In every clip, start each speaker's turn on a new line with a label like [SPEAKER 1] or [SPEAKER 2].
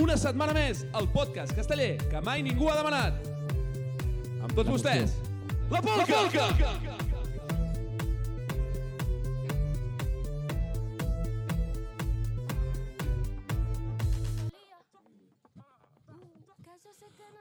[SPEAKER 1] Una setmana més, el podcast casteller que mai ningú ha demanat. Amb tots vostès, la Polca! La Polca!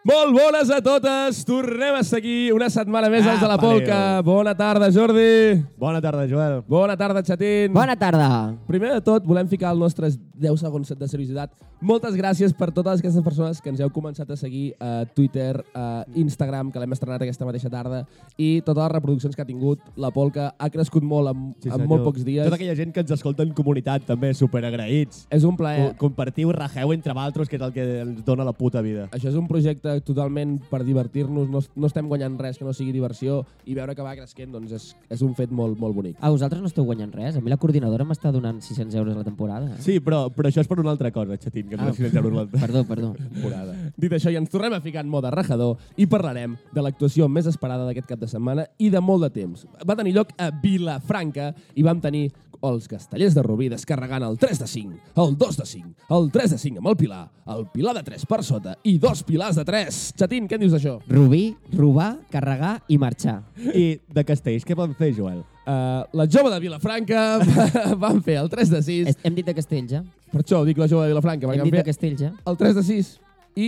[SPEAKER 1] Molt bones a totes, tornem a estar aquí una setmana més als de la
[SPEAKER 2] Apa, adéu.
[SPEAKER 1] Polca. Bona tarda, Jordi.
[SPEAKER 2] Bona tarda, Joel.
[SPEAKER 1] Bona tarda, Xatín.
[SPEAKER 3] Bona tarda.
[SPEAKER 1] Primer de tot, volem ficar els nostres 10 segons de seriositat. Moltes gràcies per totes aquestes persones que ens heu començat a seguir a Twitter, a Instagram, que l'hem estrenat aquesta mateixa tarda, i totes les reproduccions que ha tingut. La polca ha crescut molt en, sí, en molt pocs dies.
[SPEAKER 2] Tota aquella gent que ens escolta en comunitat, també, superagraïts.
[SPEAKER 1] És un plaer.
[SPEAKER 2] Eh. Compartiu, rajeu entre valtros, que és el que ens dona la puta vida.
[SPEAKER 1] Això és un projecte totalment per divertir-nos, no, no estem guanyant res que no sigui diversió i veure que va cresquent doncs és, és un fet molt, molt bonic.
[SPEAKER 3] A vosaltres no esteu guanyant res. A mi la coordinadora m'està donant 600 euros la temporada. Eh?
[SPEAKER 2] Sí, però, però això és per una altra cosa, xatín, que no
[SPEAKER 3] Ah.
[SPEAKER 2] ah. treure una altra
[SPEAKER 3] Perdó, perdó.
[SPEAKER 2] temporada.
[SPEAKER 1] Dit això, ja ens tornem a ficar en mode rajador i parlarem de l'actuació més esperada d'aquest cap de setmana i de molt de temps. Va tenir lloc a Vilafranca i vam tenir els castellers de Rubí descarregant el 3 de 5, el 2 de 5, el 3 de 5 amb el Pilar, el Pilar de 3 per sota i dos Pilars de 3. Xatín, què en dius d'això?
[SPEAKER 3] Rubí, robar, carregar i marxar.
[SPEAKER 2] I de castells, què van fer, Joel?
[SPEAKER 3] Eh,
[SPEAKER 1] Uh, la jove de Vilafranca va- van fer el 3 de 6.
[SPEAKER 3] Est- Hem dit de Castells, ja?
[SPEAKER 1] Per això dic la jove de Vilafranca,
[SPEAKER 3] Hem
[SPEAKER 1] perquè
[SPEAKER 3] dit
[SPEAKER 1] van
[SPEAKER 3] de
[SPEAKER 1] fer
[SPEAKER 3] Castells, eh? ja?
[SPEAKER 1] el 3 de 6 i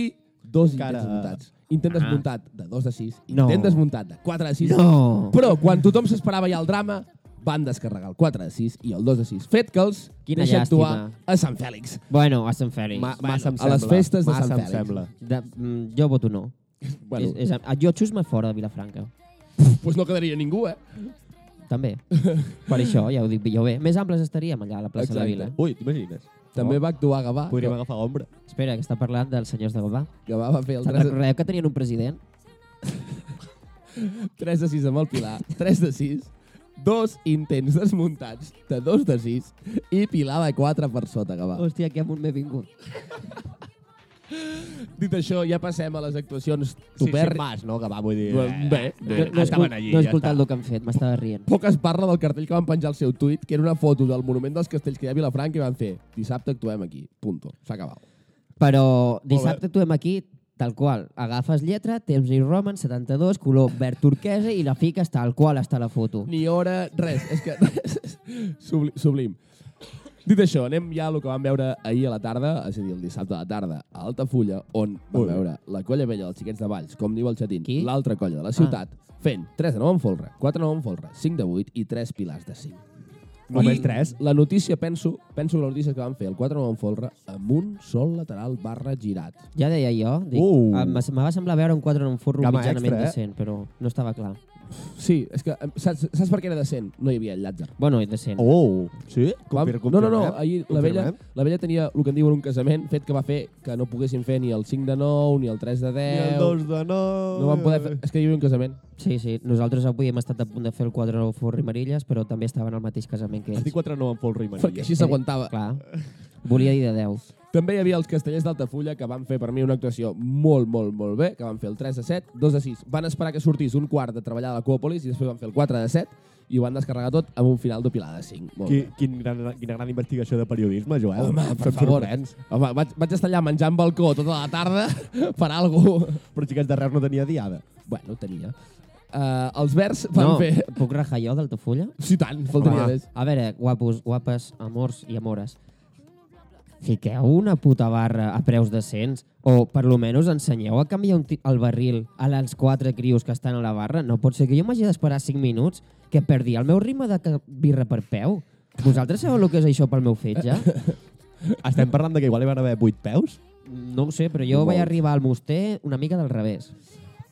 [SPEAKER 1] dos
[SPEAKER 2] Cara. Ah.
[SPEAKER 1] intents muntats. Intent desmuntat de 2 de 6,
[SPEAKER 3] No.
[SPEAKER 1] intent desmuntat de 4 de 6,
[SPEAKER 3] No.
[SPEAKER 1] Però quan tothom s'esperava ja el drama, van descarregar el 4 de 6 i el 2 de 6. Fet que els
[SPEAKER 3] Quina
[SPEAKER 1] deixa
[SPEAKER 3] llàstima.
[SPEAKER 1] actuar a Sant Fèlix.
[SPEAKER 3] Bueno, a Sant Fèlix.
[SPEAKER 1] Ma-
[SPEAKER 2] Massa em
[SPEAKER 1] a les
[SPEAKER 2] sembla,
[SPEAKER 1] festes de
[SPEAKER 2] massa
[SPEAKER 1] Sant
[SPEAKER 2] em
[SPEAKER 1] Fèlix.
[SPEAKER 2] sembla.
[SPEAKER 3] De, mm, jo voto no.
[SPEAKER 1] Bueno.
[SPEAKER 3] És, és, a- jo xusme fora de Vilafranca.
[SPEAKER 1] Doncs pues no quedaria ningú, eh?
[SPEAKER 3] També. per això, ja ho dic jo bé. Més amples estaríem allà a la plaça de
[SPEAKER 1] Exacte.
[SPEAKER 3] la Vila.
[SPEAKER 2] Ui, t'imagines?
[SPEAKER 1] També va actuar Gavà.
[SPEAKER 2] Podríem
[SPEAKER 1] que,
[SPEAKER 2] agafar ombra.
[SPEAKER 3] Espera, que està parlant dels senyors de Gavà.
[SPEAKER 1] Gavà va fer el
[SPEAKER 3] Se'n
[SPEAKER 1] 3 de,
[SPEAKER 3] recordeu que tenien un president?
[SPEAKER 1] 3 de 6 amb el Pilar. 3 de 6 dos intents desmuntats de 2 de 6 i Pilar de 4 per sota, Gavà.
[SPEAKER 3] Hòstia, que amunt m'he vingut.
[SPEAKER 1] Dit això, ja passem a les actuacions
[SPEAKER 2] Tu sí,
[SPEAKER 1] tupèr...
[SPEAKER 2] sí, mas, no? Que va, vull dir... eh.
[SPEAKER 1] Bé,
[SPEAKER 3] No,
[SPEAKER 1] bé.
[SPEAKER 3] no, he escol-
[SPEAKER 2] Estaven allí,
[SPEAKER 3] no he
[SPEAKER 2] ja
[SPEAKER 3] escoltat
[SPEAKER 2] està.
[SPEAKER 3] el que han fet, m'estava rient.
[SPEAKER 1] Poc es parla del cartell que van penjar al seu tuit, que era una foto del monument dels castells que hi ha a Vilafranca i van fer dissabte actuem aquí, punto, s'ha acabat.
[SPEAKER 3] Però dissabte actuem aquí tal qual. Agafes lletra, temps i roman, 72, color verd turquesa i la fiques tal qual està la foto.
[SPEAKER 1] Ni hora, res, és que subli- sublim. Dit això, anem ja a lo que vam veure ahir a la tarda, és a dir, el dissabte a la tarda, a Altafulla, on vam
[SPEAKER 2] Molt bé.
[SPEAKER 1] veure la colla vella dels xiquets de Valls, com diu el xatín,
[SPEAKER 3] Qui?
[SPEAKER 1] l'altra colla de la ciutat, fent 3 de 9 en folre, 4 de 9 en folre, 5 de 8 i 3 pilars de 5. I
[SPEAKER 2] Només tres?
[SPEAKER 1] La notícia, penso, penso que la notícia que van fer, el 4 de 9 en folre, amb un sol lateral barra girat.
[SPEAKER 3] Ja deia jo, dic,
[SPEAKER 2] Uh.
[SPEAKER 3] uh. me va semblar veure un quadre en un forro
[SPEAKER 2] Gamma
[SPEAKER 3] mitjanament
[SPEAKER 2] extra, eh?
[SPEAKER 3] decent, però no estava clar.
[SPEAKER 1] Sí, és que em, saps, saps per què era decent? No hi havia el Llàtzer.
[SPEAKER 3] Bueno, i decent.
[SPEAKER 2] Oh, sí?
[SPEAKER 1] Vam-
[SPEAKER 2] Confir-
[SPEAKER 1] no, no, no,
[SPEAKER 2] confirmem?
[SPEAKER 1] ahir la vella,
[SPEAKER 2] Confirmem?
[SPEAKER 1] la vella tenia el que en diuen un casament, fet que va fer que no poguessin fer ni el 5 de 9, ni el 3 de 10...
[SPEAKER 2] I el 2 de 9...
[SPEAKER 1] No van poder fer... És que hi havia un casament.
[SPEAKER 3] Sí, sí, nosaltres avui hem estat a punt de fer el quadre en forro i marilles, però també estaven al mateix casament que
[SPEAKER 2] Es diu
[SPEAKER 3] ells. Eh,
[SPEAKER 2] 4 9 en Folro i Manilla.
[SPEAKER 1] Perquè així s'aguantava.
[SPEAKER 3] Clar, volia dir de 10.
[SPEAKER 1] També hi havia els castellers d'Altafulla que van fer per mi una actuació molt, molt, molt bé, que van fer el 3 de 7, 2 de 6. Van esperar que sortís un quart de treballar a la Coòpolis i després van fer el 4 de 7 i ho van descarregar tot amb un final d'opilada de 5. Molt
[SPEAKER 2] Qui, quin gran, quina gran investigació de periodisme, Joel.
[SPEAKER 1] Home, per
[SPEAKER 2] Fem
[SPEAKER 1] favor, eh?
[SPEAKER 2] sorprens.
[SPEAKER 1] Home, vaig, vaig estar allà menjant balcó tota la tarda per algú.
[SPEAKER 2] Però xiques de Reus no tenia diada.
[SPEAKER 1] Bueno, tenia. Uh, els verds van
[SPEAKER 3] no,
[SPEAKER 1] fer...
[SPEAKER 3] puc rajar jo d'Altafulla?
[SPEAKER 1] Sí, tant, faltaria
[SPEAKER 3] Home,
[SPEAKER 1] més.
[SPEAKER 3] A veure, guapos, guapes, amors i amores. Fiqueu una puta barra a preus decents o, per lo menos, ensenyeu a canviar un ti- el barril a les quatre crios que estan a la barra. No pot ser que jo m'hagi d'esperar 5 minuts que perdi el meu ritme de ca- birra per peu. Vosaltres sabeu el que és això pel meu fetge?
[SPEAKER 2] Estem parlant de que igual hi van haver 8 peus?
[SPEAKER 3] No ho sé, però jo vaig arribar al Moster una mica del revés.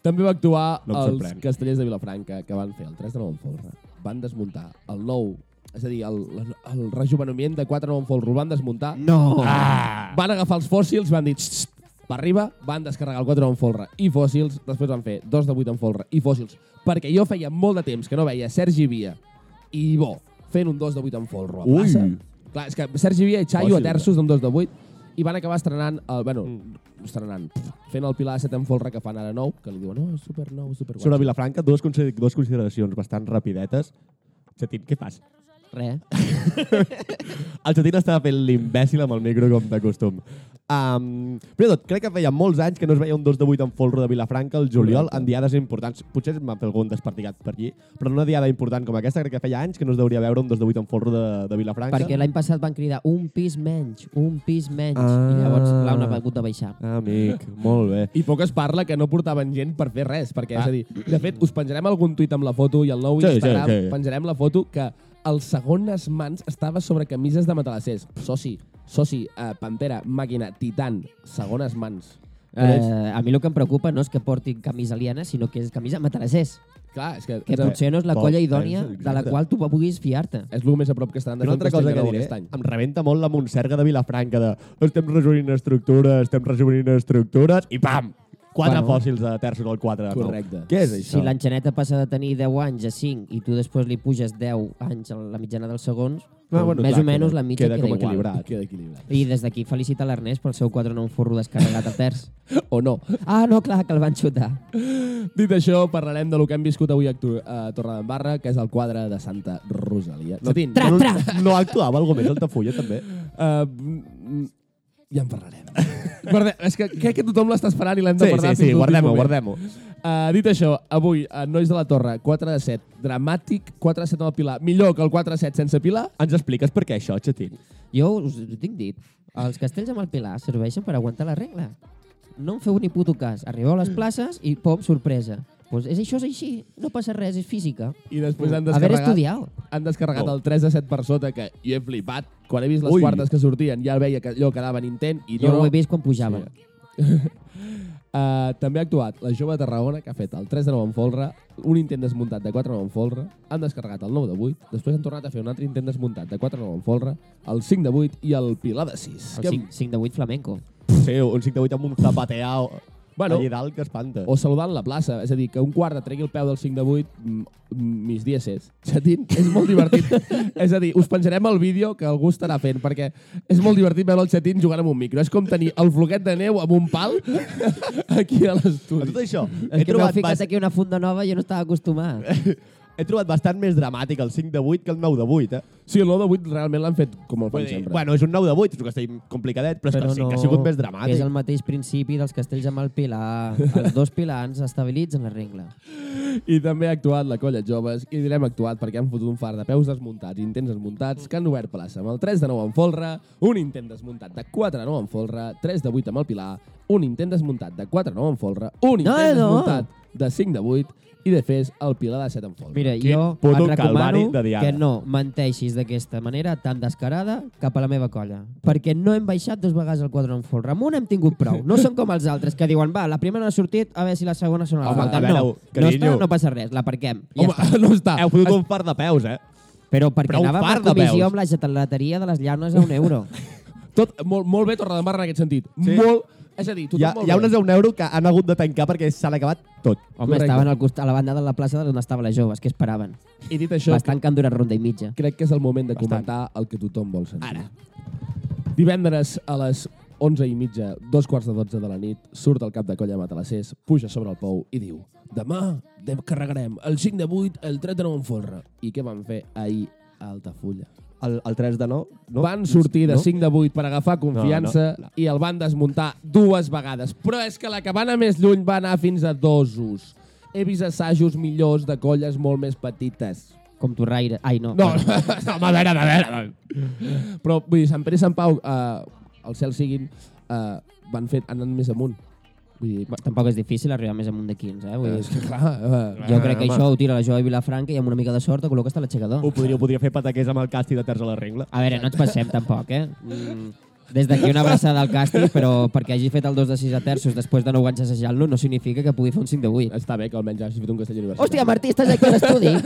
[SPEAKER 1] També va actuar
[SPEAKER 2] No em
[SPEAKER 1] els
[SPEAKER 2] sorprèn.
[SPEAKER 1] castellers de Vilafranca, que van fer el 3 de 9 en folre. Van desmuntar el nou, és a dir, el, el, el rejuveniment de 4 de 9 en folre, ho van desmuntar.
[SPEAKER 3] No!
[SPEAKER 2] Ah!
[SPEAKER 1] Van agafar els fòssils, van dir... "Txt, txt", Per arriba, van descarregar el 4 de 9 en folre i fòssils, després van fer 2 de 8 en folre i fòssils. Perquè jo feia molt de temps que no veia Sergi Via i Bo fent un 2 de 8 en folre a
[SPEAKER 2] Ui.
[SPEAKER 1] plaça. Clar, és que Sergi Via i Chayo a
[SPEAKER 2] Fòssils,
[SPEAKER 1] terços d'un 2 de 8 i van acabar estrenant, el, bueno, estrenant, fent el Pilar de 7 en folre que fan ara nou, que li diuen, no, és super nou, super guai.
[SPEAKER 2] Sobre Vilafranca, dues, consider dues consideracions bastant rapidetes. Xatín, què fas?
[SPEAKER 3] Res.
[SPEAKER 2] El Chatín estava fent l'imbècil amb el micro com de costum. Um, primer de tot, crec que feia molts anys que no es veia un 2 de 8 en folro de Vilafranca el juliol en diades importants. Potser es va fer algun despertigat per allí, però en una diada important com aquesta crec que feia anys que no es deuria veure un 2 de 8 en folro de, de Vilafranca.
[SPEAKER 3] Perquè l'any passat van cridar un pis menys, un pis menys,
[SPEAKER 2] Ah.
[SPEAKER 3] i llavors l'han hagut de baixar.
[SPEAKER 2] Amic, molt bé.
[SPEAKER 1] I poc es parla que no portaven gent per fer res, perquè, és a dir, de fet, us penjarem algun tuit amb la foto i el nou
[SPEAKER 2] Ah. Sí, sí,
[SPEAKER 1] Instagram
[SPEAKER 2] sí.
[SPEAKER 1] penjarem la foto que el segon mans estava sobre camises de matalassers. Soci, soci, eh, Pantera, Màquina, Titan, segones mans.
[SPEAKER 3] Eh, a mi el que em preocupa no és que portin camisa aliena, sinó que és camisa matalassers,
[SPEAKER 1] Clar, és que,
[SPEAKER 3] que potser no és la
[SPEAKER 2] Pot-
[SPEAKER 3] colla idònia
[SPEAKER 2] eh, exacte.
[SPEAKER 3] de la qual tu puguis fiar-te.
[SPEAKER 1] és el més a prop que estaran de
[SPEAKER 2] Una altra cosa que diré,
[SPEAKER 1] aquest any.
[SPEAKER 2] em rebenta molt la Montserga de Vilafranca de estem rejovenint estructures, estem rejovenint estructures i pam! Quatre
[SPEAKER 3] Bueno.
[SPEAKER 2] bueno. fòssils de terços al 4 de nou.
[SPEAKER 1] Correcte.
[SPEAKER 2] Què és això?
[SPEAKER 3] Si l'enxaneta passa de tenir 10 anys a 5 i tu després li puges 10 anys a la mitjana dels segons, doncs,
[SPEAKER 2] Ah, bueno,
[SPEAKER 3] més
[SPEAKER 2] clar,
[SPEAKER 3] o menys
[SPEAKER 2] queda-
[SPEAKER 3] la mitja
[SPEAKER 2] queda
[SPEAKER 3] queda,
[SPEAKER 2] com
[SPEAKER 3] igual.
[SPEAKER 2] equilibrat.
[SPEAKER 1] Queda equilibrat.
[SPEAKER 3] I des d'aquí felicita l'Ernest pel seu 4 9 forro descarregat a terç.
[SPEAKER 1] O no.
[SPEAKER 3] Ah, no, clar, que el van xutar.
[SPEAKER 1] Dit això, parlarem de lo que hem viscut avui a, Actu- a Torredembarra, que és el quadre de Santa Rosalia. No, Satín,
[SPEAKER 3] Tra,
[SPEAKER 2] no,
[SPEAKER 3] tra!
[SPEAKER 2] no actuava algú més, el Tafulla, també.
[SPEAKER 1] Uh, ja en parlarem. Guarda, és que crec que tothom l'està esperant i l'hem de
[SPEAKER 2] Sí,
[SPEAKER 1] guardar
[SPEAKER 2] sí, sí,
[SPEAKER 1] fins a l'últim
[SPEAKER 2] guardem-ho,
[SPEAKER 1] moment.
[SPEAKER 2] guardem-ho.
[SPEAKER 1] Uh, dit això, avui, a Nois de la Torre, 4 de 7, dramàtic, 4 de 7 amb el Pilar, millor que el 4 de 7 sense Pilar,
[SPEAKER 2] Ens expliques per què això, Xatín?
[SPEAKER 3] Jo us ho tinc dit. Els castells amb el Pilar serveixen per aguantar la regla. No en feu ni puto cas. Arribeu a les places i, pom, sorpresa. Pues és, això és així, no passa res, és física.
[SPEAKER 1] i després han
[SPEAKER 3] Haver
[SPEAKER 1] descarregat,
[SPEAKER 3] estudiat.
[SPEAKER 1] han descarregat
[SPEAKER 2] Oh.
[SPEAKER 1] el 3 de 7 per sota, que jo he flipat. Quan he vist les
[SPEAKER 2] Ui.
[SPEAKER 1] quartes que sortien, ja veia que allò quedava en intent i
[SPEAKER 3] Jo
[SPEAKER 1] no...
[SPEAKER 3] ho he vist quan pujava.
[SPEAKER 1] Sí. Uh, també ha actuat la jove de Tarragona, que ha fet el 3 de 9 en folre, un intent desmuntat de 4 de 9 en folre, han descarregat el 9 de 8, després han tornat a fer un altre intent desmuntat de 4 de 9 en folre, el 5 de 8 i el Pilar de 6.
[SPEAKER 3] El 5, 5 de 8 flamenco.
[SPEAKER 2] Sí, un 5 de 8 amb un zapateau
[SPEAKER 1] Bueno.
[SPEAKER 2] bueno, allà dalt que espanta.
[SPEAKER 1] O saludant la plaça, és a dir, que un quart de tregui el peu del 5 de 8, mis dies és. Xatín, és molt divertit. és a dir, us penjarem el vídeo que algú estarà fent, perquè és molt divertit veure el Xatín jugant amb un micro. És com tenir el floquet de neu amb un pal aquí a
[SPEAKER 2] A
[SPEAKER 1] l'estudi.
[SPEAKER 2] tot això, he
[SPEAKER 3] És que m'heu
[SPEAKER 2] trobat,
[SPEAKER 3] ficat
[SPEAKER 2] bas... Eh,
[SPEAKER 3] aquí una funda nova i jo no estava acostumat.
[SPEAKER 2] he trobat bastant més dramàtic el 5 de 8 que el 9 de 8, eh?
[SPEAKER 1] Sí, el 9 de 8 realment l'han fet com el
[SPEAKER 2] Vull
[SPEAKER 1] fan
[SPEAKER 2] dir,
[SPEAKER 1] sempre.
[SPEAKER 2] bueno, és un 9 de 8, és un castell complicadet, però, però és que, no... que ha sigut més dramàtic.
[SPEAKER 3] És el mateix principi dels castells amb el pilar. Els dos pilans estabilitzen la regla.
[SPEAKER 1] I també ha actuat la colla joves, i direm actuat perquè han fotut un far de peus desmuntats, intents desmuntats, que han obert plaça amb el 3 de 9 en folre, un intent desmuntat de 4 de 9 en folre, 3 de 8 amb el Pilar, un intent desmuntat de 4 de 9 en folre, un intent
[SPEAKER 2] eh,
[SPEAKER 3] No, no.
[SPEAKER 1] desmuntat de 5 de 8, i de fes el Pilar de 7 en folre.
[SPEAKER 3] Mira,
[SPEAKER 2] Quin
[SPEAKER 3] jo
[SPEAKER 2] puto
[SPEAKER 3] et
[SPEAKER 2] calvari
[SPEAKER 3] recomano
[SPEAKER 2] de diada.
[SPEAKER 3] que no menteixis d'aquesta manera tan descarada cap a la meva colla. Perquè no hem baixat dos vegades el quadre en folre. Amb una hem tingut prou. No som com els altres que diuen, va, la primera no ha sortit, a veure si la segona sona la
[SPEAKER 2] Home,
[SPEAKER 3] falta.
[SPEAKER 2] a veure,
[SPEAKER 3] no, no,
[SPEAKER 2] carinyo.
[SPEAKER 3] està, no passa res, l'aparquem. Ja
[SPEAKER 1] Home,
[SPEAKER 3] està.
[SPEAKER 1] no està.
[SPEAKER 2] Heu fotut un fart de peus, eh?
[SPEAKER 3] Però perquè
[SPEAKER 2] Però un
[SPEAKER 3] anàvem
[SPEAKER 2] fart de
[SPEAKER 3] a
[SPEAKER 2] peus.
[SPEAKER 3] comissió amb la gelateria de les llaunes a un euro.
[SPEAKER 1] Tot, molt, molt bé Torredembarra en aquest sentit.
[SPEAKER 2] Sí.
[SPEAKER 1] Molt, és a dir, tothom
[SPEAKER 2] Hi ha,
[SPEAKER 1] molt
[SPEAKER 2] hi ha
[SPEAKER 1] bé.
[SPEAKER 2] unes d'un euro que han hagut de tancar perquè s'han acabat tot.
[SPEAKER 3] Home,
[SPEAKER 1] Correcte.
[SPEAKER 3] estaven al costat, a la banda de la plaça d'on estava les joves, que esperaven.
[SPEAKER 1] I dit això,
[SPEAKER 3] Bastant que han durat ronda i mitja.
[SPEAKER 1] crec que és el moment de
[SPEAKER 2] Bastant.
[SPEAKER 1] comentar el que tothom vol sentir. Ara. Divendres a les 11 i mitja, dos quarts de 12 de la nit, surt el cap de colla Matalassers, puja sobre el pou i diu demà carregarem el 5 de 8, el 3 de 9 en folre. I què van fer ahir a Altafulla?
[SPEAKER 2] El, el 3 de 9,
[SPEAKER 1] No?
[SPEAKER 2] no?
[SPEAKER 1] Van sortir de
[SPEAKER 2] no?
[SPEAKER 1] 5 de 8 per agafar confiança
[SPEAKER 2] No, no, no.
[SPEAKER 1] i el van desmuntar dues vegades. Però és que la cabana més lluny va anar fins a dosos. He vist assajos millors de colles molt més petites.
[SPEAKER 3] Com tu raire. Ai, no.
[SPEAKER 1] No, no, a veure, a veure. Però, vull dir, Sant Pere i Sant Pau, eh, el cel siguin, eh, van fer, han anat més amunt. Vull dir,
[SPEAKER 3] Bueno, Tampoc és difícil arribar més amunt de 15, eh? Vull
[SPEAKER 1] és
[SPEAKER 3] dir,
[SPEAKER 1] que clar... Eh,
[SPEAKER 3] jo crec que
[SPEAKER 2] home.
[SPEAKER 3] això ho tira la jove Vilafranca i amb una mica de sort ho col·loques a l'aixecador.
[SPEAKER 2] Ho podria, ho podria fer pataquers amb el càstig de terç a la regla.
[SPEAKER 3] A veure, no ens passem tampoc, eh? Mm. Des d'aquí una abraçada al càstig, però perquè hagi fet el 2 de 6 a terços després de 9 anys assajant-lo no significa que pugui fer un 5 de 8.
[SPEAKER 1] està bé que almenys hagi fet un castell universitari.
[SPEAKER 3] Hòstia, Martí, estàs aquí a l'estudi?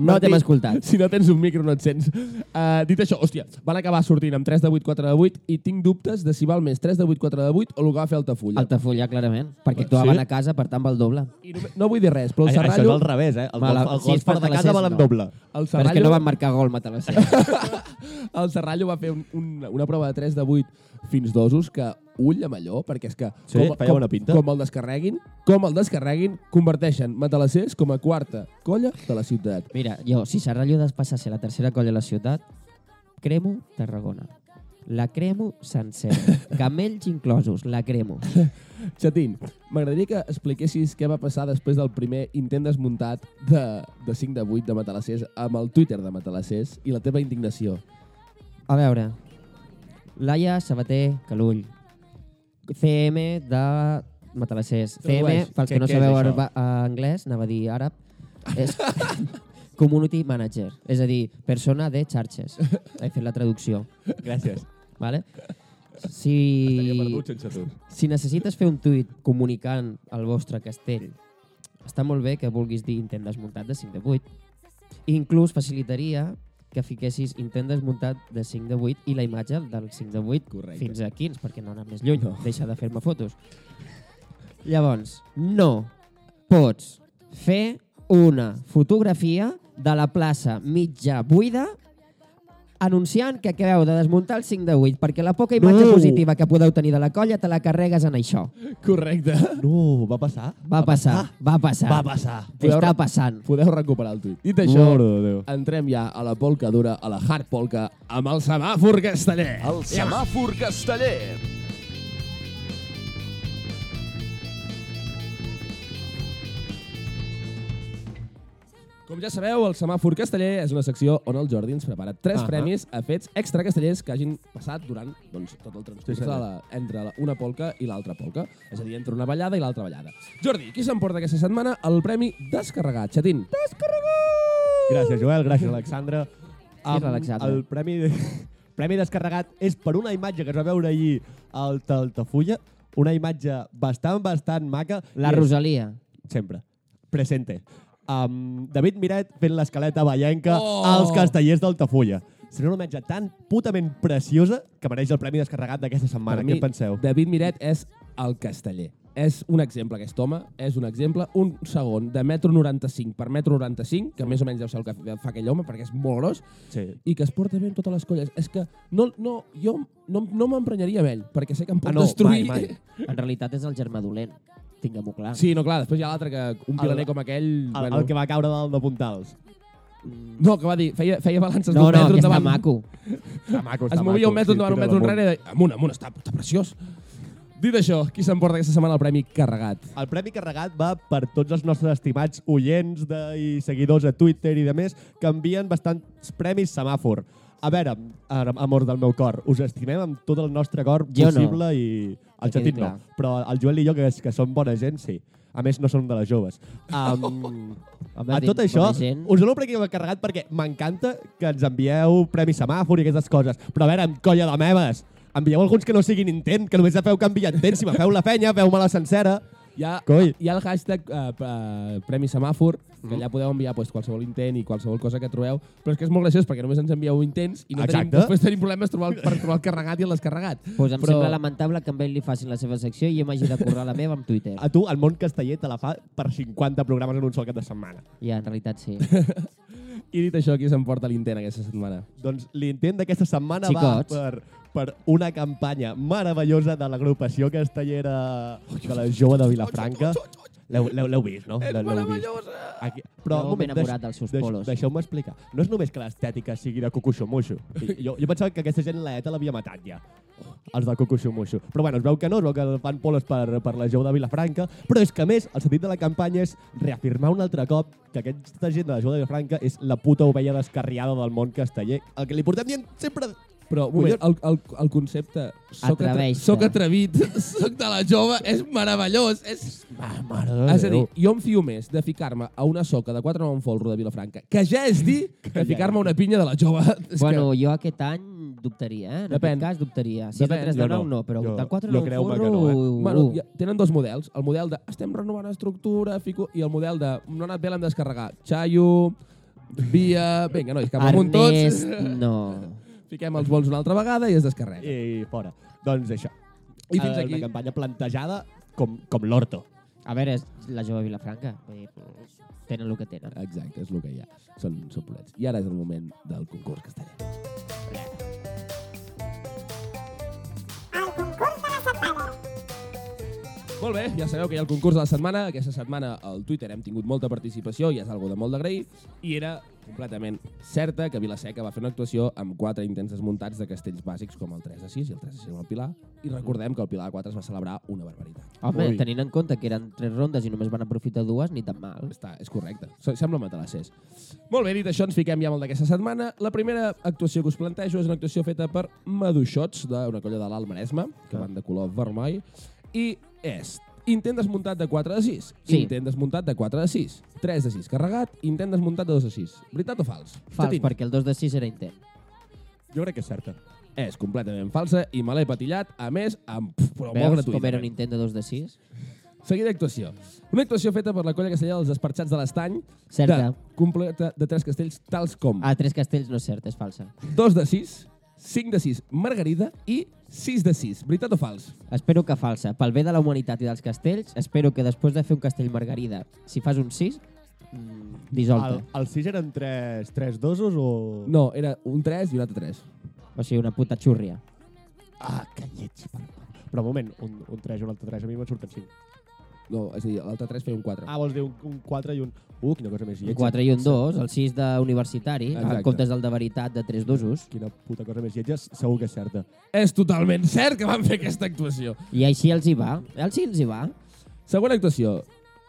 [SPEAKER 3] No t'hem
[SPEAKER 1] Martí,
[SPEAKER 3] escoltat.
[SPEAKER 1] Si no tens un micro no et sents. Uh, dit això, hòstia, van acabar sortint amb 3 de 8, 4 de 8 i tinc dubtes de si val més 3 de 8, 4 de 8 o el que va fer Altafulla.
[SPEAKER 3] Altafulla, clarament, perquè actuaven
[SPEAKER 2] Sí?
[SPEAKER 3] a casa, per tant, val doble.
[SPEAKER 1] I no, no vull dir res, però el
[SPEAKER 2] Ai, Això és
[SPEAKER 1] Serrallo...
[SPEAKER 2] al revés, eh? El,
[SPEAKER 3] Mal,
[SPEAKER 2] gol, el
[SPEAKER 3] sí,
[SPEAKER 2] gol
[SPEAKER 3] és
[SPEAKER 2] fora de
[SPEAKER 3] Matalassers,
[SPEAKER 2] casa valen
[SPEAKER 3] no.
[SPEAKER 2] doble.
[SPEAKER 1] El
[SPEAKER 3] Però és que
[SPEAKER 1] Serrallo,
[SPEAKER 3] no van marcar gol, Matalassera.
[SPEAKER 1] el Serrallo va fer un, un, una prova de 3 de 8 fins dosos que ull amb allò, perquè és que
[SPEAKER 2] Sí,
[SPEAKER 1] com,
[SPEAKER 2] feia
[SPEAKER 1] com,
[SPEAKER 2] bona pinta.
[SPEAKER 1] com el descarreguin, com el descarreguin, converteixen matalassers com a quarta colla de la ciutat.
[SPEAKER 3] Mira, jo, si Serrallo passar a ser la tercera colla de la ciutat, cremo Tarragona. La cremo sencera. Gamells inclosos, la cremo.
[SPEAKER 1] Chatín, m'agradaria que expliquessis què va passar després del primer intent desmuntat de, de 5 de 8 de matalassers amb el Twitter de matalassers i la teva indignació.
[SPEAKER 3] A veure, Laia Sabater Calull, CM de Matalassers. CM,
[SPEAKER 2] Tradueix.
[SPEAKER 3] pels
[SPEAKER 2] Què-
[SPEAKER 3] que no
[SPEAKER 2] què és
[SPEAKER 3] sabeu
[SPEAKER 2] això?
[SPEAKER 3] arba- eh, anglès, anava a dir àrab, és Community Manager, és a dir, persona de xarxes. He fet la traducció,
[SPEAKER 2] Gràcies.
[SPEAKER 3] vale? Si,
[SPEAKER 2] sense tu.
[SPEAKER 3] si necessites fer un tuit comunicant el vostre castell, està molt bé que vulguis dir intent desmuntat de 5 de 8. Inclús facilitaria que fiquessis intent desmuntat de 5 de 8 i la imatge del 5 de 8
[SPEAKER 1] Correcte.
[SPEAKER 3] fins a 15, perquè no anem més lluny.
[SPEAKER 1] No.
[SPEAKER 3] No. Deixa de fer-me fotos. Llavors, no pots fer una fotografia de la plaça mitja buida anunciant que acabeu de desmuntar el 5 de 8 perquè la poca imatge
[SPEAKER 2] No.
[SPEAKER 3] no. positiva que podeu tenir de la colla te la carregues en això.
[SPEAKER 1] Correcte.
[SPEAKER 2] No, va passar?
[SPEAKER 3] Va passar, va passar.
[SPEAKER 2] Va passar.
[SPEAKER 3] Està passant.
[SPEAKER 1] Podeu recuperar el tuit. Dit això,
[SPEAKER 2] Mare de Déu.
[SPEAKER 1] entrem ja a la polca dura, a la hard polca, amb el semàfor casteller.
[SPEAKER 4] El semàfor casteller.
[SPEAKER 1] Com ja sabeu, el semàfor casteller és una secció on el Jordi ens prepara tres uh
[SPEAKER 2] Ahà.
[SPEAKER 1] -huh. premis a fets extra castellers que hagin passat durant doncs, tot el transcurs
[SPEAKER 2] Sí,
[SPEAKER 1] sí,
[SPEAKER 2] senyor.
[SPEAKER 1] de la, entre la, una polca i l'altra polca. És a dir, entre una ballada i l'altra ballada. Jordi, qui s'emporta aquesta setmana el premi Descarregat? Xatín.
[SPEAKER 2] Gràcies, Joel. Gràcies, Alexandra. Am-
[SPEAKER 3] Alexandra.
[SPEAKER 1] eh?
[SPEAKER 2] El premi, de... premi descarregat és per una imatge que es va veure ahir al Taltafulla. Una imatge bastant, bastant maca.
[SPEAKER 3] La
[SPEAKER 2] I és-
[SPEAKER 3] Rosalia.
[SPEAKER 2] Sempre. Presente. Um, David Miret fent l'escaleta ballenca
[SPEAKER 1] Oh!
[SPEAKER 2] oh! als castellers d'Altafulla. Serà una imatge tan putament preciosa que mereix el premi descarregat d'aquesta setmana. Què en penseu?
[SPEAKER 1] David Miret és el casteller. És un exemple, aquest home. És un exemple. Un segon de metro 95 per metro 95, que més o menys deu ser el que fa aquell home, perquè és molt gros,
[SPEAKER 2] Sí.
[SPEAKER 1] i que es porta bé amb totes les colles. És que no, no, jo no, no m'emprenyaria amb ell, perquè sé que em pot
[SPEAKER 2] Ah, no,
[SPEAKER 1] destruir.
[SPEAKER 2] mai, mai.
[SPEAKER 3] En realitat és el germà dolent. Tinguem-ho clar.
[SPEAKER 1] Sí, no, clar, després hi ha l'altre que un pilaner com aquell...
[SPEAKER 2] El, el que va caure dalt de puntals.
[SPEAKER 1] No, que va dir, feia, feia balances d'un
[SPEAKER 3] No, no,
[SPEAKER 1] metro
[SPEAKER 3] que està
[SPEAKER 1] endavant.
[SPEAKER 3] maco.
[SPEAKER 2] Està maco,
[SPEAKER 1] Es movia un metro endavant, un metro enrere, i deia, amunt, amunt, està, està preciós. Dit això, qui s'emporta aquesta setmana el premi carregat?
[SPEAKER 2] El premi carregat va per tots els nostres estimats oients de, i seguidors a Twitter i de més que envien bastants premis semàfor. A veure, ara, amor del meu cor, us estimem amb tot el nostre cor
[SPEAKER 3] Jo no.
[SPEAKER 2] possible i el
[SPEAKER 3] Que quedi
[SPEAKER 2] Xatín no,
[SPEAKER 3] clar.
[SPEAKER 2] però el Joel i jo, que, és- que som bona gent, sí. A més, no som de les joves. Um,
[SPEAKER 3] Home,
[SPEAKER 2] a
[SPEAKER 3] dic,
[SPEAKER 2] tot això,
[SPEAKER 3] bona gent.
[SPEAKER 2] us dono un premi carregat perquè m'encanta que ens envieu premi semàfor i aquestes coses. Però a veure, amb colla de meves, envieu alguns que no siguin intent, que només feu canvi intent. Si me feu la penya, feu-me la sencera.
[SPEAKER 1] Hi ha,
[SPEAKER 2] Coi.
[SPEAKER 1] hi ha el hashtag eh, p- eh, Premi Semàfor, que
[SPEAKER 3] Mm.
[SPEAKER 1] allà podeu enviar pues, qualsevol intent i qualsevol cosa que trobeu, però és que és molt graciós perquè només ens envieu intents i no tenim,
[SPEAKER 2] Exacte.
[SPEAKER 1] després tenim problemes trobar el, per trobar el carregat i el descarregat.
[SPEAKER 3] Pues em Però... sembla lamentable que a ell li facin la seva secció i jo m'hagi de currar la meva amb Twitter.
[SPEAKER 2] A tu, el món casteller te la fa per 50 programes en un sol cap de setmana.
[SPEAKER 3] Ja, en realitat sí.
[SPEAKER 1] I dit això, qui s'emporta l'intent aquesta setmana?
[SPEAKER 2] Doncs l'intent d'aquesta setmana
[SPEAKER 3] Xicots.
[SPEAKER 2] va per, per una campanya meravellosa de l'agrupació castellera de la jove de Vilafranca. L'heu l'heu- l'heu vist, no? L'heu- l'heu vist. Aquí. Però,
[SPEAKER 3] Jo
[SPEAKER 2] un
[SPEAKER 3] m'he
[SPEAKER 2] moment, deix-
[SPEAKER 3] enamorat dels seus
[SPEAKER 2] deix-
[SPEAKER 3] polos.
[SPEAKER 2] Deixeu-me explicar. No és només que l'estètica sigui de cucuixo-muixo. Jo, jo pensava que aquesta gent l'ETA l'havia matat ja. Els de cucuixo-muixo. Però bueno, es veu que no, es veu que fan polos per, per la jou de Vilafranca. Però és que, a més, el sentit de la campanya és reafirmar un altre cop que aquesta gent de la jou de Vilafranca és la puta ovella descarriada del món casteller. El que li portem dient sempre...
[SPEAKER 1] Però, un moment, el, el, el concepte soc, atre
[SPEAKER 3] Atreveix-te.
[SPEAKER 1] soc atrevit, soc de la jove, és meravellós, és...
[SPEAKER 2] Ma mare de
[SPEAKER 1] És a dir,
[SPEAKER 2] Déu.
[SPEAKER 1] jo em fio més de ficar-me a una soca de 4 a un folro de Vilafranca, que ja és dir que ficar-me a una pinya de la jove. És
[SPEAKER 3] bueno, jo aquest any dubtaria, eh? En
[SPEAKER 1] Depèn.
[SPEAKER 3] aquest cas dubtaria. Si
[SPEAKER 1] Depèn.
[SPEAKER 3] és de 3
[SPEAKER 2] Jo
[SPEAKER 3] de 9,
[SPEAKER 2] no.
[SPEAKER 3] no, però
[SPEAKER 2] Jo-
[SPEAKER 3] del 4
[SPEAKER 2] jo
[SPEAKER 3] de 9
[SPEAKER 2] creu-me
[SPEAKER 3] forro...
[SPEAKER 2] que no, eh?
[SPEAKER 3] u-
[SPEAKER 1] Bueno,
[SPEAKER 3] u.
[SPEAKER 1] ja, tenen dos models. El model de estem renovant estructura fico, i el model de no ha anat bé l'hem de descarregar. Xaio, via... Vinga, nois, cap amunt tots.
[SPEAKER 3] Ernest, no. Eh,
[SPEAKER 1] Fiquem els vols una altra vegada i es descarrega.
[SPEAKER 2] I fora. Doncs això. Eh,
[SPEAKER 1] I fins aquí.
[SPEAKER 2] Una campanya plantejada com, com l'orto.
[SPEAKER 3] A veure, és la jove Vilafranca. Vull dir, tenen el que tenen.
[SPEAKER 1] Exacte, és el que hi ha. Són, són polets. I ara és el moment del concurs casteller.
[SPEAKER 5] al concurs de la setmana.
[SPEAKER 1] Molt bé, ja sabeu que hi ha el concurs de la setmana. Aquesta setmana al Twitter hem tingut molta participació i és algo de molt d'agrair. I era completament certa que Vilaseca va fer una actuació amb quatre intents desmuntats de castells bàsics com el 3 a 6 i el 3 a 6 amb el Pilar. I recordem que el Pilar a 4 es va celebrar una barbaritat.
[SPEAKER 3] Home,
[SPEAKER 2] Ui.
[SPEAKER 3] tenint en compte que eren tres rondes i només van aprofitar dues, ni tan mal.
[SPEAKER 1] Està, és correcte. So- Sembla matalassers. Molt bé, dit això, ens fiquem ja amb el d'aquesta setmana. La primera actuació que us plantejo és una actuació feta per Maduixots, d'una colla de l'Alt Maresme, que
[SPEAKER 3] Ah.
[SPEAKER 1] van de color vermell, i és intent desmuntat de 4 de 6,
[SPEAKER 3] Sí.
[SPEAKER 1] intent desmuntat de 4 de 6, 3 de 6 carregat, intent desmuntat de 2 de 6. Veritat o fals?
[SPEAKER 3] Fals,
[SPEAKER 1] Xatín.
[SPEAKER 3] perquè el 2 de 6 era intent.
[SPEAKER 2] Jo crec que és certa.
[SPEAKER 1] És completament falsa i me l'he patillat, a més, amb, però molt eh?
[SPEAKER 3] Veus com
[SPEAKER 1] gratuïtament.
[SPEAKER 3] era un intent de 2 de 6?
[SPEAKER 1] Seguida actuació. Una actuació feta per la colla castellà dels Desperxats de l'Estany,
[SPEAKER 3] Certa.
[SPEAKER 1] de, completa de tres castells tals com
[SPEAKER 3] A tres castells no és cert, és falsa.
[SPEAKER 1] 2 de 6, 5 de 6, Margarida i 6 de 6. Veritat o fals?
[SPEAKER 3] Espero que falsa. Pel bé de la humanitat i dels castells, espero que després de fer un castell margarida, si fas un 6, mm, dissolta.
[SPEAKER 2] El, el 6 eren 3, 3 dosos o...
[SPEAKER 1] No, era un 3 i un altre 3.
[SPEAKER 3] O sigui, una puta xurria.
[SPEAKER 2] Ah, que lleig. per favor. Però un moment, un, un 3 i un altre 3, a mi me'n surten 5.
[SPEAKER 1] No, és a dir, l'altre 3 feia un 4.
[SPEAKER 2] Ah, vols dir un, un 4 i un... Uh, quina cosa més
[SPEAKER 3] Un
[SPEAKER 2] lleig.
[SPEAKER 3] 4 i un 2, el 6 d'universitari, en
[SPEAKER 1] Exacte.
[SPEAKER 3] comptes del de veritat de 3 d'usos.
[SPEAKER 2] Quina puta cosa més lletja, segur que és certa.
[SPEAKER 1] És totalment cert que van fer aquesta actuació.
[SPEAKER 3] I així els hi va. Els sí els hi va.
[SPEAKER 1] Segona actuació.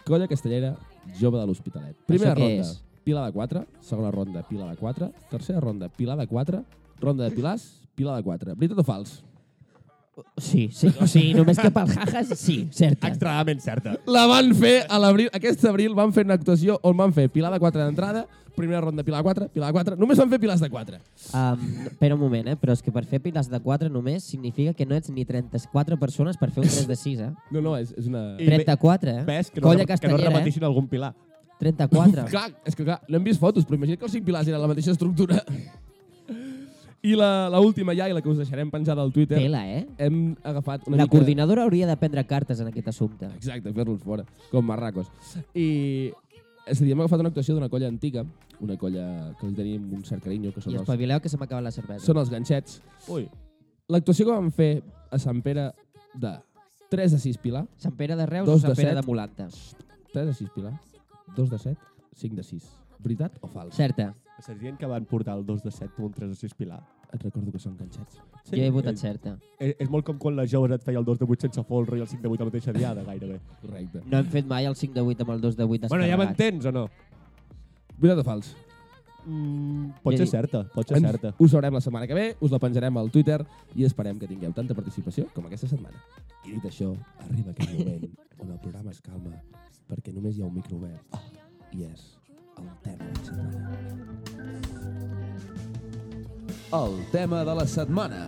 [SPEAKER 1] Colla castellera, jove de l'Hospitalet. Primera
[SPEAKER 3] què
[SPEAKER 1] ronda,
[SPEAKER 3] és?
[SPEAKER 1] pila de 4. Segona ronda, pila de 4. Tercera ronda, pila de 4. Ronda de pilars, pila de 4. Veritat o fals?
[SPEAKER 3] Sí, sí. O sigui, només que pel jajas, sí, certa.
[SPEAKER 2] Extremadament certa.
[SPEAKER 3] Eh?
[SPEAKER 1] La van fer a l'abril, aquest abril van fer una actuació on van fer pilar de 4 d'entrada, primera ronda pilar de 4, pilar de 4, només van fer pilars de 4.
[SPEAKER 3] Um, espera un moment, eh? però és que per fer pilars de 4 només significa que no ets ni 34 persones per fer un 3 de 6, eh?
[SPEAKER 1] No, no, és, és una...
[SPEAKER 2] I
[SPEAKER 3] 34, eh?
[SPEAKER 2] Ves que no,
[SPEAKER 3] Colla
[SPEAKER 2] rep- que no
[SPEAKER 3] castellera,
[SPEAKER 2] repetissin algun pilar.
[SPEAKER 3] eh? 34.
[SPEAKER 1] Clar, és que clar, n'hem vist fotos, però imagina't que els cinc pilars eren la mateixa estructura. I la, la última ja, i la que us deixarem penjada al Twitter,
[SPEAKER 3] Tela, eh?
[SPEAKER 1] hem agafat una
[SPEAKER 3] La
[SPEAKER 1] mica...
[SPEAKER 3] coordinadora hauria de prendre cartes en aquest assumpte.
[SPEAKER 1] Exacte, fer-los fora, com marracos. I... És a dir, hem agafat una actuació d'una colla antiga, una colla que els tenim un cert carinyo, que
[SPEAKER 3] I
[SPEAKER 1] són, els,
[SPEAKER 3] espavileu que se m'acaba la cervesa.
[SPEAKER 1] són els ganxets.
[SPEAKER 2] Ui,
[SPEAKER 1] L'actuació que vam fer a Sant Pere de 3 de 6 pilar,
[SPEAKER 3] Sant Pere de Reus
[SPEAKER 1] Dos
[SPEAKER 3] o Sant
[SPEAKER 1] de
[SPEAKER 3] Pere
[SPEAKER 1] set.
[SPEAKER 3] de Molanta?
[SPEAKER 1] 3 de 6 pilar, 2 de 7, 5 de 6. Veritat o fals?
[SPEAKER 3] Certa.
[SPEAKER 2] estàs dient que van portar el 2 de 7 o un 3 de 6 pilar?
[SPEAKER 1] Et recordo que són ganxets.
[SPEAKER 3] Sí, jo he votat certa.
[SPEAKER 2] És, és molt com quan les joves et feia el 2 de 8 sense folro i el 5 de 8 la mateixa diada, gairebé.
[SPEAKER 1] Correcte.
[SPEAKER 3] No hem fet mai el 5 de 8 amb el 2 de 8 descarregat.
[SPEAKER 2] bueno, ja m'entens o no?
[SPEAKER 1] Veritat o fals?
[SPEAKER 2] Mm, pot
[SPEAKER 3] Jo
[SPEAKER 2] ser
[SPEAKER 3] dic-
[SPEAKER 2] certa, pot ser
[SPEAKER 1] Ens-
[SPEAKER 2] certa.
[SPEAKER 1] Ho sabrem la setmana que ve, us la penjarem al Twitter i esperem que tingueu tanta participació com aquesta setmana. I dit això, arriba aquell moment on el programa es calma perquè només hi ha un micro obert i és el tema de la setmana.
[SPEAKER 4] El tema de la setmana.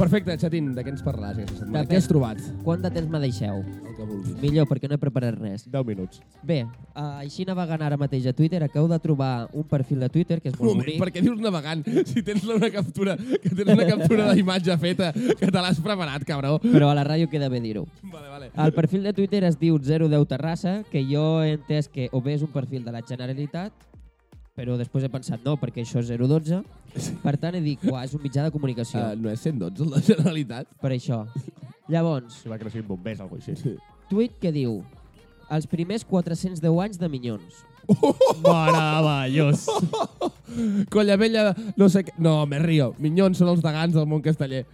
[SPEAKER 1] Perfecte, Xatín, de què ens parlaràs aquesta setmana?
[SPEAKER 3] Depèn.
[SPEAKER 1] Què has trobat?
[SPEAKER 3] Quant de temps me deixeu?
[SPEAKER 1] El que vulguis.
[SPEAKER 3] Millor, perquè no he preparat res.
[SPEAKER 2] 10 minuts.
[SPEAKER 3] Bé, uh, així navegant ara mateix a Twitter, acabo de trobar un perfil de Twitter que és
[SPEAKER 1] Un
[SPEAKER 3] molt
[SPEAKER 1] moment,
[SPEAKER 3] bonic.
[SPEAKER 1] per què dius navegant? Si tens una captura, que tens una captura d'imatge feta, que te l'has preparat, cabró.
[SPEAKER 3] Però a la ràdio queda bé dir-ho.
[SPEAKER 1] Vale, vale.
[SPEAKER 3] El perfil de Twitter es diu 010 Terrassa, que jo he entès que o bé és un perfil de la Generalitat, però després he pensat no, perquè això és 012. Per tant, he dit, uah, és un mitjà de comunicació.
[SPEAKER 1] Uh, no és 112, la Generalitat?
[SPEAKER 3] per això. Llavors,
[SPEAKER 2] Si va creixer en bombers, alguna cosa així.
[SPEAKER 3] tuit que diu els primers 410 anys de Minyons.
[SPEAKER 2] Meravellós.
[SPEAKER 1] Colla vella, no sé què... No, me río. Minyons són els degans del món casteller.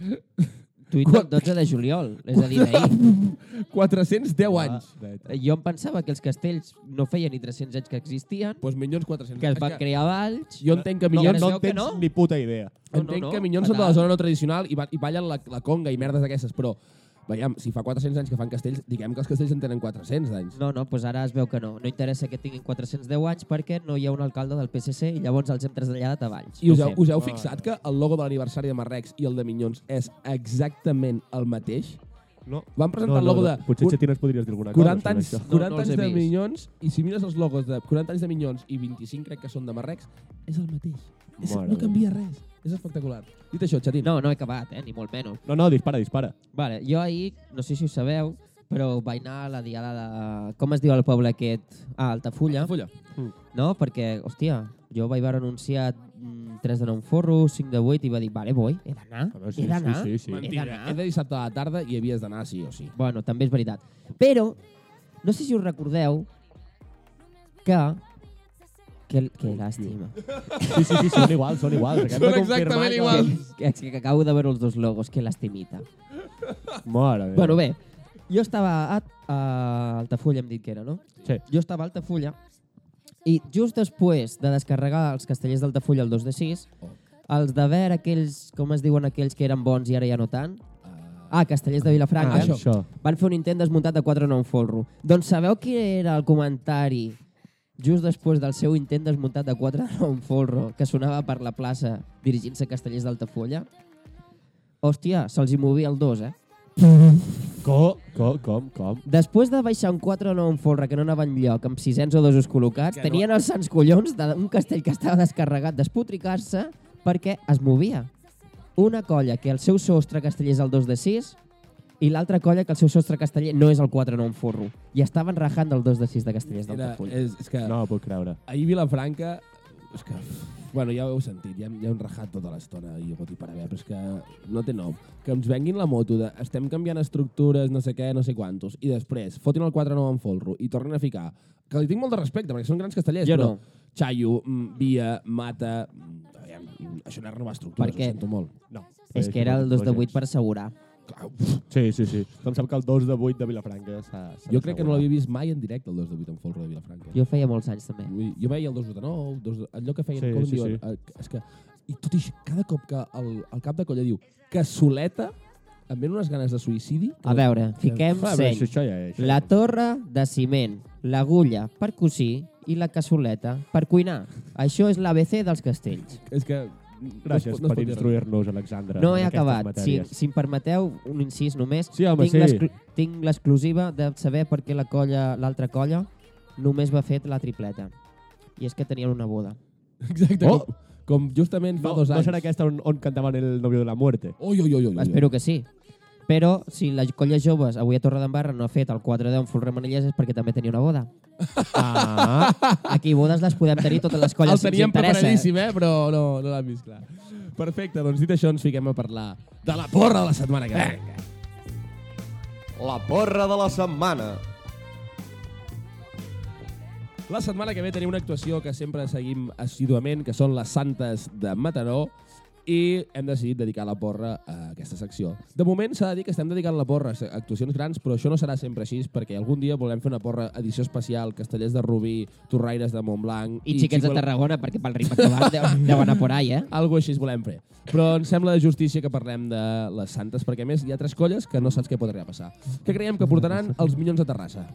[SPEAKER 3] Tuit del 12 de juliol, és a dir, d'ahir.
[SPEAKER 1] 410
[SPEAKER 3] Ah.
[SPEAKER 1] anys.
[SPEAKER 3] Jo em pensava que els castells no feien ni 300 anys que existien,
[SPEAKER 1] Doncs pues Minyons 400.
[SPEAKER 3] que es van crear valls...
[SPEAKER 1] Jo entenc que
[SPEAKER 3] No,
[SPEAKER 1] Minyons,
[SPEAKER 3] no,
[SPEAKER 1] no,
[SPEAKER 2] No
[SPEAKER 3] Penseu que
[SPEAKER 2] tens
[SPEAKER 3] no?
[SPEAKER 2] ni puta idea.
[SPEAKER 3] no,
[SPEAKER 1] entenc
[SPEAKER 3] no,
[SPEAKER 1] que Minyons són de
[SPEAKER 3] fatal.
[SPEAKER 1] la zona no tradicional i, ba i ballen la, la conga i merdes d'aquestes, però veiem, si fa 400 anys que fan castells, diguem que els castells en tenen 400 d'anys.
[SPEAKER 3] No, no, doncs ara es veu que no. No interessa que tinguin 410 anys perquè no hi ha un alcalde del PSC i llavors els hem traslladat a Valls.
[SPEAKER 1] I us
[SPEAKER 3] No ho
[SPEAKER 1] heu,
[SPEAKER 3] sé.
[SPEAKER 2] Ah,
[SPEAKER 1] us heu fixat que el logo de l'aniversari de Marrecs i el de Minyons és exactament el mateix?
[SPEAKER 2] No.
[SPEAKER 1] Van presentar el logo de-
[SPEAKER 2] Potser,
[SPEAKER 1] un-
[SPEAKER 2] Xatín, ens podries dir alguna cosa
[SPEAKER 1] 40 anys,
[SPEAKER 2] sobre això.
[SPEAKER 1] 40
[SPEAKER 3] No, no els he
[SPEAKER 1] anys de
[SPEAKER 3] vist.
[SPEAKER 1] Minyons, i si mires els logos de 40 anys de Minyons i 25 crec que són de Marrecs, és el mateix. És,
[SPEAKER 2] Mare
[SPEAKER 1] no
[SPEAKER 2] meva.
[SPEAKER 1] canvia res. És espectacular. Dit això, Xatín.
[SPEAKER 3] No, no he acabat, eh? ni molt menys.
[SPEAKER 2] No, no, dispara, dispara.
[SPEAKER 3] Vale, jo ahir, no sé si ho sabeu, però vaig anar a la diada de... Com es diu el poble aquest? Ah, Altafulla.
[SPEAKER 1] Fulla.
[SPEAKER 3] No? Perquè, hòstia, Jo vaig veure anunciat 3 de 9 forros, 5 de 8, i va dir, vale, voy, he d'anar,
[SPEAKER 2] A veure, sí,
[SPEAKER 3] he d'anar,
[SPEAKER 2] sí, sí, sí.
[SPEAKER 3] he
[SPEAKER 1] Mentira,
[SPEAKER 3] d'anar.
[SPEAKER 1] era dissabte a la tarda i havies d'anar sí o sí.
[SPEAKER 3] Bueno, també és veritat. Però, no sé si us recordeu que... Que, que llàstima.
[SPEAKER 2] Sí, sí, sí, són iguals, són iguals. Acabem de
[SPEAKER 1] Són
[SPEAKER 2] confirmar
[SPEAKER 1] exactament
[SPEAKER 2] que-
[SPEAKER 1] iguals.
[SPEAKER 3] Que, que, que acabo de veure els dos logos, que lastimita.
[SPEAKER 2] Mare meva.
[SPEAKER 3] Bueno, bé, jo estava a, a Altafulla, hem dit que era, no?
[SPEAKER 2] Sí.
[SPEAKER 3] Jo estava a Altafulla i just després de descarregar els castellers d'Altafulla el 2 de 6, els de Ver, aquells, com es diuen aquells que eren bons i ara ja no tant, ah, castellers de Vilafranca,
[SPEAKER 2] Ah, això.
[SPEAKER 3] van fer un intent desmuntat de 4 9 folro. Doncs sabeu qui era el comentari just després del seu intent desmuntat de 4 9 folro que sonava per la plaça dirigint-se a castellers d'Altafulla? Hòstia, se'ls hi movia el 2, eh?
[SPEAKER 2] Co, co, com, com?
[SPEAKER 3] Després de baixar un 4 o 9 en folre que no anava enlloc, amb sisens o dosos col·locats, tenien els sants collons d'un castell que estava descarregat despotricar-se perquè es movia. Una colla que el seu sostre casteller és el 2 de 6 i l'altra colla que el seu sostre casteller no és el 4 o 9 forro. I estaven rajant del 2 de 6 de castellers del
[SPEAKER 1] Era,
[SPEAKER 3] Tafull.
[SPEAKER 1] és, és que no.
[SPEAKER 2] No ho puc creure.
[SPEAKER 1] ahir Vilafranca... És que, bueno, ja ho heu sentit, ja, hem- ja hem rajat tota l'estona i pot i per haver, però és que no té nom. Que ens venguin la moto de estem canviant estructures, no sé què, no sé quantos, i després fotin el 4-9 en folro i tornen a ficar. Que li tinc molt de respecte, perquè són grans castellers,
[SPEAKER 3] Jo
[SPEAKER 1] però...
[SPEAKER 3] no.
[SPEAKER 1] Chayo, mm, Via, Mata... mm, aviam, mm, Això no és renovar estructures,
[SPEAKER 3] Per què?
[SPEAKER 1] ho sento molt.
[SPEAKER 2] No.
[SPEAKER 3] És que era el 2 de 8 per assegurar.
[SPEAKER 1] Clar,
[SPEAKER 2] Sí, sí, sí. Em sap que el 2 de 8 de Vilafranca s'ha... s'ha
[SPEAKER 1] Jo crec que no
[SPEAKER 2] assegurat.
[SPEAKER 1] l'havia vist mai en directe, el 2 de 8 en folro de Vilafranca. Jo,
[SPEAKER 3] Jo feia molts anys, també.
[SPEAKER 1] jo veia el 2 de 9, 2 de... allò que feien,
[SPEAKER 2] Sí,
[SPEAKER 1] sí, com
[SPEAKER 2] sí,
[SPEAKER 1] sí, diuen. Sí. És que, I tot i així, cada cop que el, el cap de colla diu que soleta, em venen unes ganes de suïcidi.
[SPEAKER 3] A veure, fiquem
[SPEAKER 2] Ah, però
[SPEAKER 3] seny.
[SPEAKER 2] això, això ja és.
[SPEAKER 3] La torre de ciment, l'agulla per cosir i la cassoleta per cuinar. Això és l'ABC dels castells.
[SPEAKER 1] És que...
[SPEAKER 2] Gràcies
[SPEAKER 1] no es pot- no es pot
[SPEAKER 2] per
[SPEAKER 1] dir res.
[SPEAKER 2] instruir-nos, Alexandre.
[SPEAKER 3] No he
[SPEAKER 2] en aquestes
[SPEAKER 3] acabat. Si,
[SPEAKER 2] matèries.
[SPEAKER 3] si em permeteu, un incís només.
[SPEAKER 2] Sí, home,
[SPEAKER 3] tinc
[SPEAKER 2] sí.
[SPEAKER 3] l'exclu- Tinc l'exclusiva de saber per què la colla, l'altra colla només va fer la tripleta. I és que tenien una boda.
[SPEAKER 1] Exacte,
[SPEAKER 2] Oh!
[SPEAKER 1] oh! com, com justament fa
[SPEAKER 2] No,
[SPEAKER 1] dos
[SPEAKER 2] no
[SPEAKER 1] anys.
[SPEAKER 2] serà aquesta on, on cantaven el novio de la muerte.
[SPEAKER 1] Oi, oi, oi, oi, oi.
[SPEAKER 3] Espero que sí. Però si la colla joves avui a Torredembarra no ha fet el 4 10 en Fulre Manilles és perquè també tenia una boda.
[SPEAKER 2] Ah,
[SPEAKER 3] Aquí bodes les podem tenir totes les colles
[SPEAKER 1] El
[SPEAKER 3] si ens
[SPEAKER 1] teníem
[SPEAKER 3] interessa.
[SPEAKER 1] preparadíssim, eh? però no, no l'han vist clar. Perfecte, doncs dit això ens fiquem a parlar de la porra de la setmana que ve.
[SPEAKER 2] la porra de la setmana.
[SPEAKER 1] La setmana que ve tenim una actuació que sempre seguim assiduament, que són les Santes de Mataró, i hem decidit dedicar la porra a aquesta secció. De moment s'ha de dir que estem dedicant la porra a actuacions grans, però això no serà sempre així, perquè algun dia volem fer una porra edició especial, castellers de Rubí, Torraires de Montblanc...
[SPEAKER 3] I xiquets de
[SPEAKER 1] Chico-
[SPEAKER 3] Tarragona, perquè pel ritme que van deu, deu anar por ahí, eh?
[SPEAKER 1] Algo així volem fer. Però ens sembla de justícia que parlem de les Santes, perquè a més hi ha tres colles que no saps què podria passar. Què creiem que portaran els minyons de Terrassa?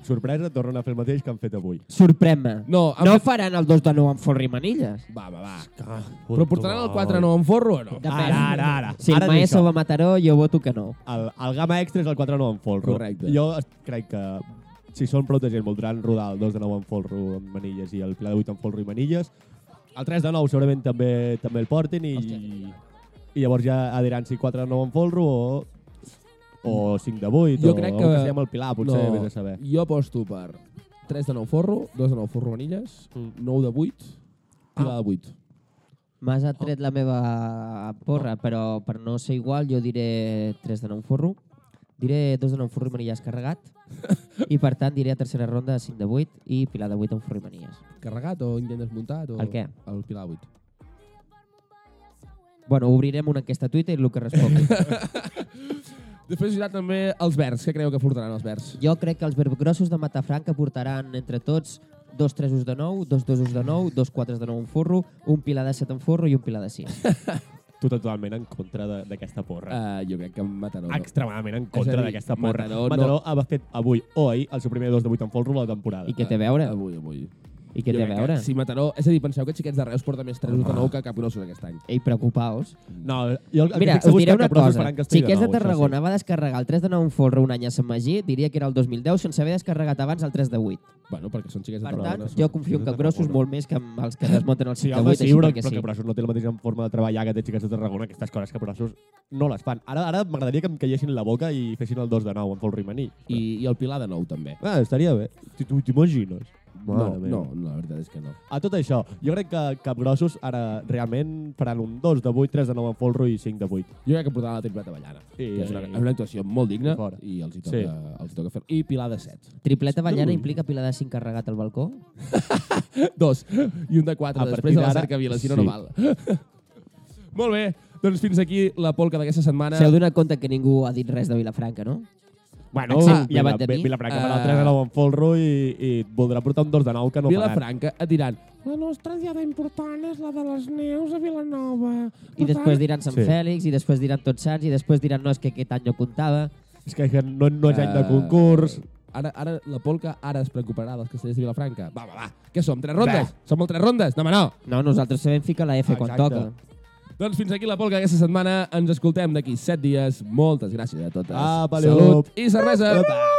[SPEAKER 2] Sorpresa, tornen a fer el mateix que han fet avui.
[SPEAKER 3] Sorprèn-me.
[SPEAKER 1] No, han
[SPEAKER 3] no
[SPEAKER 1] fet-
[SPEAKER 3] faran el 2 de 9 amb Forri Manilles.
[SPEAKER 1] Va, va, va. Però portaran el 4 no en forro o no?
[SPEAKER 3] Depèn.
[SPEAKER 2] Ara, ara, ara.
[SPEAKER 3] Si
[SPEAKER 2] Ara
[SPEAKER 3] el
[SPEAKER 2] dic
[SPEAKER 3] Maeso
[SPEAKER 2] això.
[SPEAKER 3] va a Mataró, jo voto que no.
[SPEAKER 2] El, el gamma extra és el 4 de 9 en folro.
[SPEAKER 1] Correcte.
[SPEAKER 2] Jo es- crec que si són prou de gent, voldran rodar el 2 de 9 en folro amb manilles i el pla de 8 en folro i manilles. El 3 de 9 segurament també també el portin i,
[SPEAKER 3] Hòstia.
[SPEAKER 2] i llavors ja diran si 4 de 9 en folro o, o 5 de 8
[SPEAKER 1] Jo
[SPEAKER 2] o
[SPEAKER 1] crec
[SPEAKER 2] o
[SPEAKER 1] que-
[SPEAKER 2] que sigui amb el Pilar, potser no. vés a saber.
[SPEAKER 1] Jo aposto per 3 de 9 forro, 2 de 9 forro manilles,
[SPEAKER 3] Mm.
[SPEAKER 1] 9 de 8,
[SPEAKER 3] Ah.
[SPEAKER 1] Pilar de 8.
[SPEAKER 3] M'has atret la meva porra, però per no ser igual jo diré 3 de 9 forro, diré 2 de 9 forro i manilles carregat, i per tant diré a tercera ronda 5 de 8 i Pilar de 8 amb forro i manilles.
[SPEAKER 1] Carregat o intent desmuntat? O
[SPEAKER 3] El què?
[SPEAKER 1] El Pilar de 8.
[SPEAKER 3] Bueno, obrirem una enquesta a Twitter i el que respongui.
[SPEAKER 1] Després hi ha també els verds. Què creieu que portaran els verds?
[SPEAKER 3] Jo crec que els verbrgrossos de Matafranca portaran entre tots dos tresos de nou, dos dosos de nou, dos quatres de nou en forro, un pilar de set en forro i un pilar de sis.
[SPEAKER 2] Tu totalment en contra de- d'aquesta
[SPEAKER 3] Ah,
[SPEAKER 2] porra.
[SPEAKER 1] Uh, jo crec que Mataró.
[SPEAKER 2] Uh,
[SPEAKER 1] No.
[SPEAKER 2] Extremadament en
[SPEAKER 1] És a
[SPEAKER 2] contra
[SPEAKER 1] dir,
[SPEAKER 2] d'aquesta porra.
[SPEAKER 1] Mataró no-
[SPEAKER 2] Mataró ha fet avui o ahir el seu primer 2 de 8 en folro de la temporada.
[SPEAKER 3] I què té a veure?
[SPEAKER 1] Eh, Avui, avui.
[SPEAKER 3] I què
[SPEAKER 1] Jo
[SPEAKER 3] té a
[SPEAKER 1] crec que
[SPEAKER 3] veure?
[SPEAKER 1] Si Mataró... És a dir, penseu que Xiquets de Reus porta més 3 de 9 que Capgrossos aquest any.
[SPEAKER 3] Ei, preocupaos.
[SPEAKER 2] No, jo el que
[SPEAKER 3] Mira,
[SPEAKER 2] estic
[SPEAKER 3] us
[SPEAKER 2] segur és
[SPEAKER 3] diré
[SPEAKER 2] que
[SPEAKER 3] una
[SPEAKER 2] Capgrossos
[SPEAKER 3] cosa.
[SPEAKER 2] faran Castell
[SPEAKER 3] Xiquets
[SPEAKER 2] nou,
[SPEAKER 3] de
[SPEAKER 2] això
[SPEAKER 3] Tarragona va descarregar el 3 de 9 en forro un any a Sant Magí, diria que era el 2010, sense haver descarregat abans el 3 de 8.
[SPEAKER 1] Bueno, perquè són Xiquets de
[SPEAKER 3] Per tant,
[SPEAKER 1] Tarragona.
[SPEAKER 3] jo confio en Capgrossos
[SPEAKER 2] Tarragona.
[SPEAKER 3] molt més que amb els que desmunten el 5
[SPEAKER 2] Sí,
[SPEAKER 3] de
[SPEAKER 2] home,
[SPEAKER 3] 8,
[SPEAKER 2] sí,
[SPEAKER 3] així
[SPEAKER 2] però,
[SPEAKER 3] perquè
[SPEAKER 2] però
[SPEAKER 3] sí.
[SPEAKER 2] que Brassos no té la mateixa forma de treballar que té Xiquets de Tarragona. Aquestes coses que Brassos no les fan. Ara ara m'agradaria que em caiessin la boca i fessin el 2 de 9 amb Pol Rimaní.
[SPEAKER 1] I, I el Pilar de 9 també.
[SPEAKER 2] Ah, estaria bé. Si tu T'imagines?
[SPEAKER 1] No, no, no, la veritat és que no.
[SPEAKER 2] A tot això, jo crec que capgrossos ara realment faran un 2 de 8, 3 de 9 en folro i 5 de 8.
[SPEAKER 1] Jo crec que portaran la tripleta ballana,
[SPEAKER 2] Sí,
[SPEAKER 1] que és una,
[SPEAKER 2] sí.
[SPEAKER 1] és una actuació molt digna
[SPEAKER 2] Fora.
[SPEAKER 1] i els hi
[SPEAKER 2] Sí.
[SPEAKER 1] toca, els hi toca fer I Pilar de 7.
[SPEAKER 3] Tripleta ballana implica pilar de 5 carregat al balcó?
[SPEAKER 1] Dos. I un de 4
[SPEAKER 2] A
[SPEAKER 1] després
[SPEAKER 2] partir
[SPEAKER 1] de la
[SPEAKER 2] d'ara,
[SPEAKER 1] cercavila, si no,
[SPEAKER 2] Ah, sí.
[SPEAKER 1] no val. molt bé, doncs fins aquí la polca d'aquesta setmana.
[SPEAKER 3] S'heu donat compte que ningú ha dit res de Vilafranca, no?
[SPEAKER 2] Bueno,
[SPEAKER 3] Ah, llevat de mi.
[SPEAKER 2] Vilafranca farà el
[SPEAKER 1] Ah.
[SPEAKER 2] 3 de 9 en folro i, i et voldrà portar un 2 de 9 que no faran.
[SPEAKER 1] Vilafranca et diran
[SPEAKER 5] La nostra diada important és la de les neus a Vilanova.
[SPEAKER 3] I després diran Sant
[SPEAKER 2] Sí.
[SPEAKER 3] sí. Fèlix, i després diran Tots Sants, i després diran no, és que aquest any no comptava.
[SPEAKER 2] És que que no, no és any de
[SPEAKER 1] Eh,
[SPEAKER 2] concurs.
[SPEAKER 1] Ara, ara la polca ara es preocuparà dels castellers de Vilafranca. Va, va, va. Què som? Tres rondes? Som el tres rondes? No, home, no.
[SPEAKER 3] No, nosaltres sabem ficar la F quan
[SPEAKER 2] Exacte.
[SPEAKER 3] toca.
[SPEAKER 1] Doncs fins aquí la polca d'aquesta setmana. Ens escoltem d'aquí set dies. Moltes gràcies a totes.
[SPEAKER 2] Apa, Leo.
[SPEAKER 1] Salut i cervesa.
[SPEAKER 2] Apa.